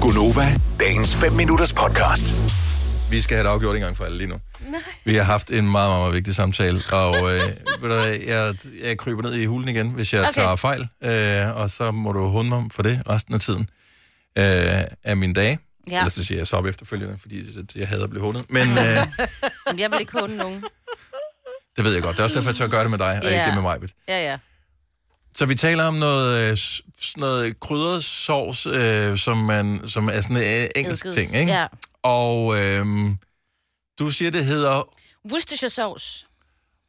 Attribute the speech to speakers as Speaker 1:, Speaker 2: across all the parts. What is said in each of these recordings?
Speaker 1: Gunova, dagens 5 minutters podcast.
Speaker 2: Vi skal have det afgjort en gang for alle lige nu. Nej. Vi har haft en meget, meget vigtig samtale, og øh, ved du, hvad, jeg, jeg kryber ned i hulen igen, hvis jeg okay.
Speaker 3: Okay.
Speaker 2: tager fejl, øh, og så må du hunde mig for det resten af tiden øh, af min dag. Ja.
Speaker 3: Ja.
Speaker 2: Ellers så siger jeg så op efterfølgende, fordi det- jeg hader at blive hundet. Men øh,
Speaker 3: Jamen, jeg vil ikke håne nogen.
Speaker 2: det ved jeg godt. Det er også derfor, jeg tør gøre det med dig, og ja. ikke
Speaker 3: Ja.
Speaker 2: det med mig. Britt.
Speaker 3: Ja, ja.
Speaker 2: Så vi taler om noget, øh, s- sådan noget krydret sovs, øh, som, man, som er sådan en øh, engelsk
Speaker 3: Eddikes.
Speaker 2: ting, ikke?
Speaker 3: Ja.
Speaker 2: Og øh, du siger, det hedder
Speaker 3: Worcestershire sauce.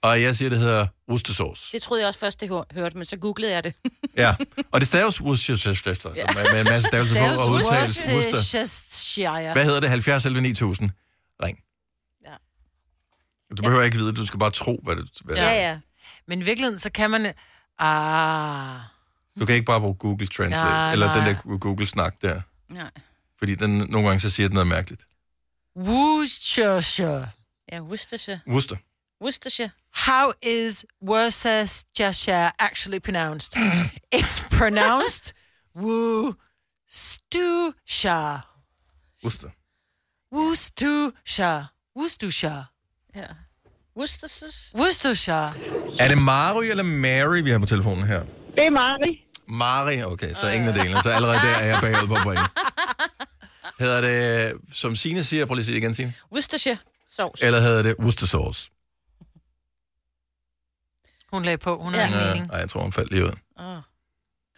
Speaker 2: Og jeg siger, det hedder Worcestersauce.
Speaker 3: Det troede jeg også først, det hør- hørte, men så googlede jeg det.
Speaker 2: Ja, og det staves Worcestershire, så med, med en masse stavelse på og udtales Worcester.
Speaker 4: Worcestershire.
Speaker 2: Hvad hedder det? 70 11 9000? Ring.
Speaker 3: Ja.
Speaker 2: Du behøver ikke vide det, du skal bare tro, hvad det hvad
Speaker 3: Ja, ja.
Speaker 4: Men i virkeligheden, så kan man... Ah,
Speaker 2: Du kan ikke bare bruge Google Translate,
Speaker 4: Nej,
Speaker 2: eller den
Speaker 4: nej.
Speaker 2: der Google-snak der.
Speaker 3: Nej.
Speaker 2: Fordi den, nogle gange så siger den noget mærkeligt.
Speaker 4: Worcestershire.
Speaker 3: Ja, Worcestershire.
Speaker 2: Worcester.
Speaker 3: Worcestershire.
Speaker 4: How is Worcestershire actually pronounced? It's pronounced Worcestershire.
Speaker 2: Worcester.
Speaker 4: Worcestershire. Worcestershire.
Speaker 3: Ja. Worcestershire.
Speaker 4: Worcestershire.
Speaker 2: Er det Mari eller Mary, vi har på telefonen her?
Speaker 5: Det er Mari.
Speaker 2: Mari, okay, så ingen af delene. Så allerede der er jeg bagud på point. Hedder det, som Signe siger, prøv lige at sige det igen, Signe.
Speaker 3: Worcestershire sauce.
Speaker 2: Eller hedder det Worcestershire?
Speaker 4: Hun lagde på. Hun har
Speaker 3: Ja.
Speaker 4: en
Speaker 2: Ja,
Speaker 4: mening.
Speaker 2: nej, jeg tror, hun faldt lige ud.
Speaker 3: Åh.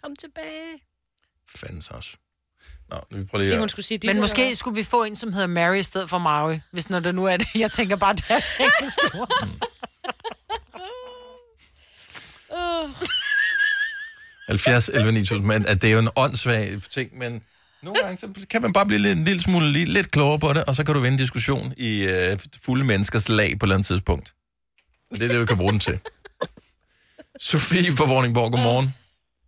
Speaker 3: Kom tilbage.
Speaker 2: Fandens også. Nå, nu vi prøver lige
Speaker 3: Det,
Speaker 2: at...
Speaker 3: hun skulle sige. dit,
Speaker 4: Men
Speaker 3: eller
Speaker 4: måske skulle vi få en, som hedder Mary i stedet for Mary, hvis når det nu er det. Jeg tænker bare, det er et engelsk ord.
Speaker 3: hvad? Åh.
Speaker 2: 70, 11, 9000, men at det er jo en åndssvag ting, men nogle gange så kan man bare blive lidt, en lille smule lige, lidt klogere på det, og så kan du vinde en diskussion i øh, fulde menneskers lag på et eller andet tidspunkt. Og det er det, du kan bruge den til. Sofie fra Vordingborg, godmorgen.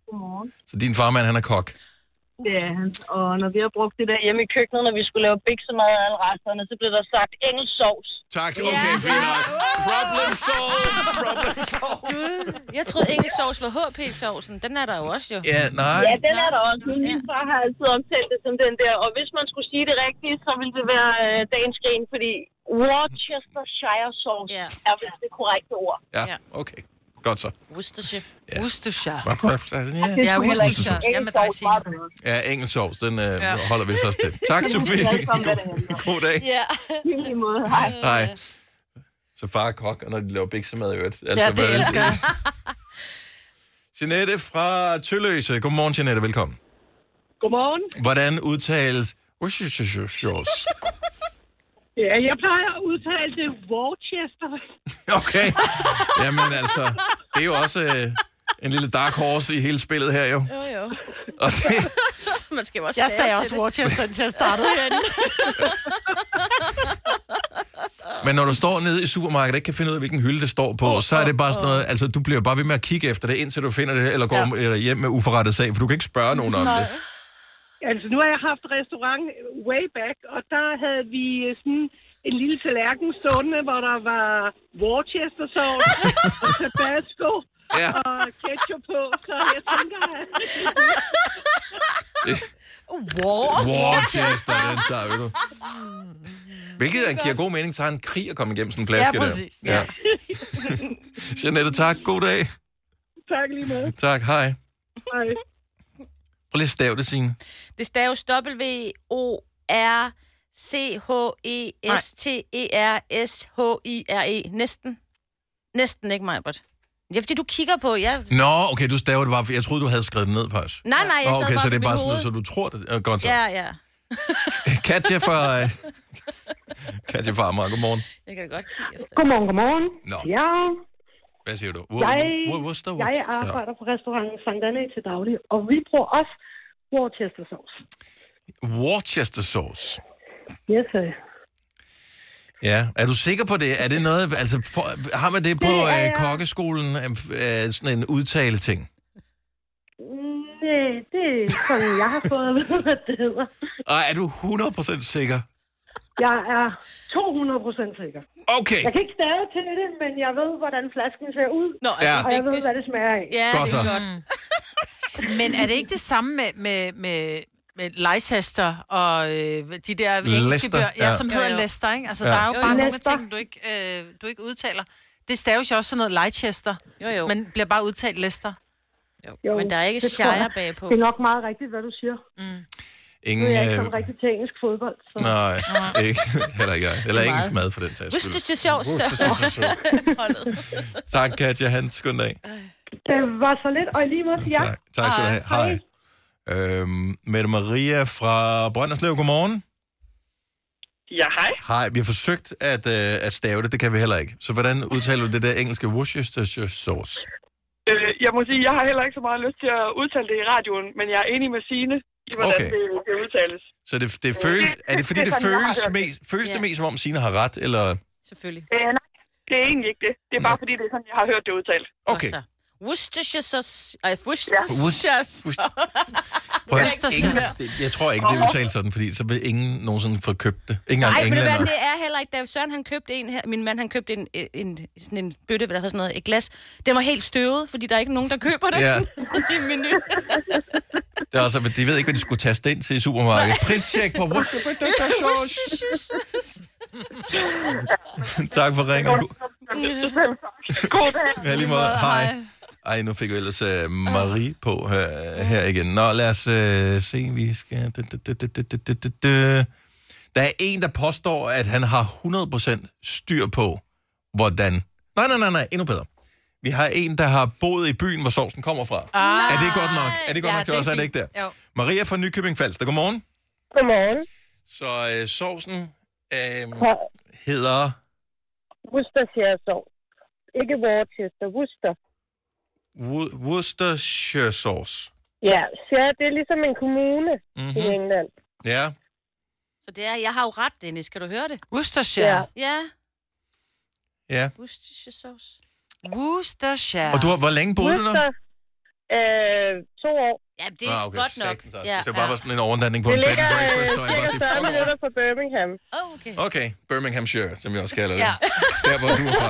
Speaker 5: Godmorgen.
Speaker 2: Så din farmand, han er kok.
Speaker 5: Det er han. Og når vi har brugt det der hjemme i køkkenet, når vi skulle lave biksemad og alle resterne, så blev der sagt engelsk sovs.
Speaker 2: Tak, okay, fint nok. Problem solved, problem solved.
Speaker 3: Jeg troede engelsk sauce var HP-saucen. Den er der jo også, jo.
Speaker 2: Ja, nej.
Speaker 5: Ja, den er der også. Men min far har altid omtalt det som den der. Og hvis man skulle sige det rigtige, så ville det være øh, dagens grin, fordi Worcestershire sauce
Speaker 3: Ja.
Speaker 5: er vist det korrekte ord.
Speaker 2: Ja, okay. Godt så.
Speaker 3: Worcestershire.
Speaker 4: Worcestershire.
Speaker 2: Ja.
Speaker 4: Ja,
Speaker 5: skulle heller ikke.
Speaker 4: Worcestershire. Ja, med
Speaker 5: Engelsk
Speaker 4: dig,
Speaker 5: sovs
Speaker 4: Signe.
Speaker 5: var bedre.
Speaker 2: Ja, engelsk sovs, den øh, ja. holder vi så også til. Tak, Sofie.
Speaker 5: ved ikke, om hvad det
Speaker 2: God, god dag.
Speaker 3: Ja.
Speaker 5: I lige måde, hej.
Speaker 2: Hej. Så far er kok, og når de laver biksemad i øvrigt. Altså,
Speaker 4: Ja, det
Speaker 2: hvad-
Speaker 4: elsker jeg.
Speaker 2: Jeanette fra Tølløse. Godmorgen, Jeanette. Velkommen.
Speaker 5: Godmorgen.
Speaker 2: Hvordan udtales... Worcestershire-sauce?
Speaker 5: Ja, jeg plejer at udtale det Worcester.
Speaker 2: Okay. Jamen altså, det er jo også øh, en lille dark horse i hele spillet her, jo.
Speaker 3: Jo, jo.
Speaker 2: Og det,
Speaker 3: Man skal jo også
Speaker 4: Jeg
Speaker 3: lære
Speaker 4: sagde
Speaker 3: til
Speaker 4: også
Speaker 3: det.
Speaker 4: Worcester, til at starte herinde.
Speaker 2: Men når du står nede i supermarkedet og ikke kan finde ud af, hvilken hylde det står på, oh, så er det bare sådan noget, altså du bliver bare ved med at kigge efter det, indtil du finder det, eller går ja. hjem med uforrettet sag, for du kan ikke spørge nogen om det.
Speaker 6: Altså, nu har jeg haft restaurant way back, og der havde vi øh, sådan en lille tallerken stående, hvor der var Worcester sauce og tabasco
Speaker 2: Ja,
Speaker 6: og ketchup på, så jeg tænker, at
Speaker 2: Worcester, den tager vi nu. Hvilket er, giver god mening, tager en krig at komme igennem sådan en flaske
Speaker 4: Ja, præcis.
Speaker 2: der. Ja. Jeanette, tak. God dag.
Speaker 6: tak lige med.
Speaker 2: Tak. Hej.
Speaker 6: Hej.
Speaker 2: Prøv lige at stave det, Signe.
Speaker 3: Det staves E W-O-R-C-H-E-S-T-E-R-S-H-I-R-E. E. Næsten. Næsten ikke, Majbert. Ja, fordi du kigger på, jeg...
Speaker 2: Nå, okay, du staver det bare, for jeg troede, du havde skrevet det ned faktisk.
Speaker 3: Nej, nej, jeg
Speaker 2: Nå,
Speaker 3: sad
Speaker 2: okay,
Speaker 3: bare
Speaker 2: så det er
Speaker 3: på
Speaker 2: bare
Speaker 3: mit
Speaker 2: sådan,
Speaker 3: hoved.
Speaker 2: så du tror det. Ja, Godt så.
Speaker 3: Ja, ja.
Speaker 2: Katja fra... øh, Katja fra Amager, godmorgen.
Speaker 3: Jeg kan da godt kigge efter.
Speaker 6: Godmorgen, godmorgen.
Speaker 2: Nå.
Speaker 6: Ja,
Speaker 2: Hvad siger du?
Speaker 6: Jeg-
Speaker 2: Worcester,
Speaker 6: jeg arbejder på restauranten Sankt Anne til daglig, og vi bruger også Worcester sauce.
Speaker 2: Ja. Worcester sauce.
Speaker 6: Yes, sir.
Speaker 2: Ja, er du sikker på det? Er det noget, altså, for, har man det på
Speaker 6: Det er
Speaker 2: øh,
Speaker 6: jeg.
Speaker 2: kokkeskolen, øh, øh, sådan en udtale ting?
Speaker 6: Nej, det er sådan, jeg har fået at vide, hvad det hedder.
Speaker 2: Og er du 100% sikker?
Speaker 6: Jeg er 200 procent sikker.
Speaker 2: Okay,
Speaker 6: Jeg kan ikke stave til det, men jeg ved, hvordan flasken ser ud,
Speaker 3: Nå,
Speaker 2: Ja.
Speaker 3: ja.
Speaker 6: og jeg ved, hvad det smager af.
Speaker 3: Ja,
Speaker 2: Godt Mm.
Speaker 3: det er
Speaker 2: så.
Speaker 3: godt.
Speaker 4: Men er det ikke det samme med, med, med, med Leicester og øh, de der engelske bøger, ja,
Speaker 2: ja.
Speaker 4: som
Speaker 3: Jo,
Speaker 4: hedder
Speaker 3: jo.
Speaker 4: Leicester, ikke? Altså,
Speaker 2: Ja.
Speaker 4: ja. der er jo
Speaker 3: Jo,
Speaker 4: bare
Speaker 3: jo.
Speaker 4: nogle af
Speaker 5: Leicester.
Speaker 4: tingene, du ikke, øh, du ikke udtaler. Det staves jo også sådan noget Leicester,
Speaker 3: Jo, jo. Men,
Speaker 4: men bliver bare udtalt Leicester.
Speaker 3: jo. men der er ikke
Speaker 5: det tror jeg.
Speaker 3: Shire bagpå.
Speaker 5: Det er nok meget rigtigt, hvad du siger. Nu
Speaker 2: Ingen,
Speaker 5: er jeg ikke
Speaker 2: øh,
Speaker 5: sådan rigtig til engelsk fodbold. Så.
Speaker 2: nej, ikke, heller ikke. jeg. Eller engelsk mad, for den sags
Speaker 3: Hvis
Speaker 2: skyld.
Speaker 3: det er sjovt, så holdet.
Speaker 2: tak, Katja. Han, skøn dag.
Speaker 5: Det var så lidt, og i lige måde til jer.
Speaker 2: Tak, tak skal du have. Hej. Øhm, Mette Maria fra Brønderslev, godmorgen.
Speaker 6: Ja, hej.
Speaker 2: Hej, vi har forsøgt at, øh, at stave det, det kan vi heller ikke. Så hvordan udtaler du det der engelske Worcestershire sauce?
Speaker 6: Øh, jeg må sige, jeg har heller ikke så meget lyst til at udtale det i radioen, men jeg er enig med Signe i, hvordan
Speaker 2: Okay.
Speaker 6: okay. det, det udtales.
Speaker 2: Så det, det føles, er det fordi, det
Speaker 6: Det er sådan, jeg har
Speaker 2: føles,
Speaker 6: hørt det.
Speaker 2: mest, føles det
Speaker 3: Ja.
Speaker 2: mest, som om Signe har ret, eller...
Speaker 3: Selvfølgelig.
Speaker 6: Øh, nej, det er egentlig ikke det. Det er bare fordi, det er sådan, jeg har hørt det udtalt.
Speaker 2: Okay,
Speaker 3: Og så Worcestershire sauce. Ej, Worcestershire
Speaker 2: Worc- prøv at, høre,
Speaker 4: Worcestershire.
Speaker 2: ingen, det, jeg tror ikke, det udtales sådan, fordi så vil ingen nogensinde få købt det. Ikke engang
Speaker 3: Nej, men
Speaker 2: englænder.
Speaker 3: det er heller ikke. Da Søren han købte en her, min mand han købte en, en, sådan en bøtte, eller sådan noget, et glas. Den var helt støvet, fordi der er ikke nogen, der køber det
Speaker 2: Ja.
Speaker 3: i menu.
Speaker 2: Det er også, at de ved ikke, hvad de skulle taste ind til i supermarkedet. Pristjek på Worcestershire sauce. tak for ringen. God-
Speaker 6: God dag.
Speaker 2: Ja, lige måde. Hej. Ej, nu fik vi ellers uh, Marie på her, her igen. Nå, lad os uh, se, vi skal... Da, da, da, da, da, da, da, da, da. Der er en, der påstår, at han har 100% styr på, hvordan... Nej, nej, nej, nej, endnu bedre. Vi har en, der har boet i byen, hvor sovsen kommer fra.
Speaker 4: Ah.
Speaker 2: Er det godt nok? Er det godt
Speaker 4: Ja,
Speaker 2: nok? Det
Speaker 4: det
Speaker 2: er
Speaker 4: er
Speaker 2: også, er Ah, det
Speaker 4: fint.
Speaker 2: ikke der?
Speaker 4: Jo.
Speaker 2: Maria fra Nykøbing Falster, godmorgen.
Speaker 5: Godmorgen.
Speaker 2: Så øh, sovsen øh, hedder...
Speaker 5: Worcestershire sovs. Ikke Worcester, Worcester.
Speaker 2: Wo- Worcestershire sauce.
Speaker 5: Ja, så det er ligesom en kommune mm. i
Speaker 2: Mm-hmm.
Speaker 5: England.
Speaker 2: Ja.
Speaker 3: Så det er, jeg har jo ret, Dennis. Kan du høre det?
Speaker 4: Worcestershire.
Speaker 5: Ja.
Speaker 3: Ja.
Speaker 2: Ja.
Speaker 3: Worcestershire sauce.
Speaker 4: Worcestershire.
Speaker 2: Og du har, hvor længe boede du der?
Speaker 5: Worcester, øh, to år.
Speaker 3: Ja, det er ah, okay. godt nok.
Speaker 2: Satans, altså.
Speaker 3: ja,
Speaker 2: Hvis det bare var sådan en overnatning på
Speaker 5: Det
Speaker 2: en bed
Speaker 5: ligger
Speaker 2: and
Speaker 5: øh,
Speaker 2: breakfast, så jeg bare
Speaker 5: cirka
Speaker 2: sige,
Speaker 5: 40
Speaker 2: fuck
Speaker 5: minutter fra Birmingham.
Speaker 3: Oh, okay.
Speaker 2: off. Okay, Birminghamshire, som jeg også kalder det.
Speaker 4: Ja.
Speaker 2: Der, hvor du er fra.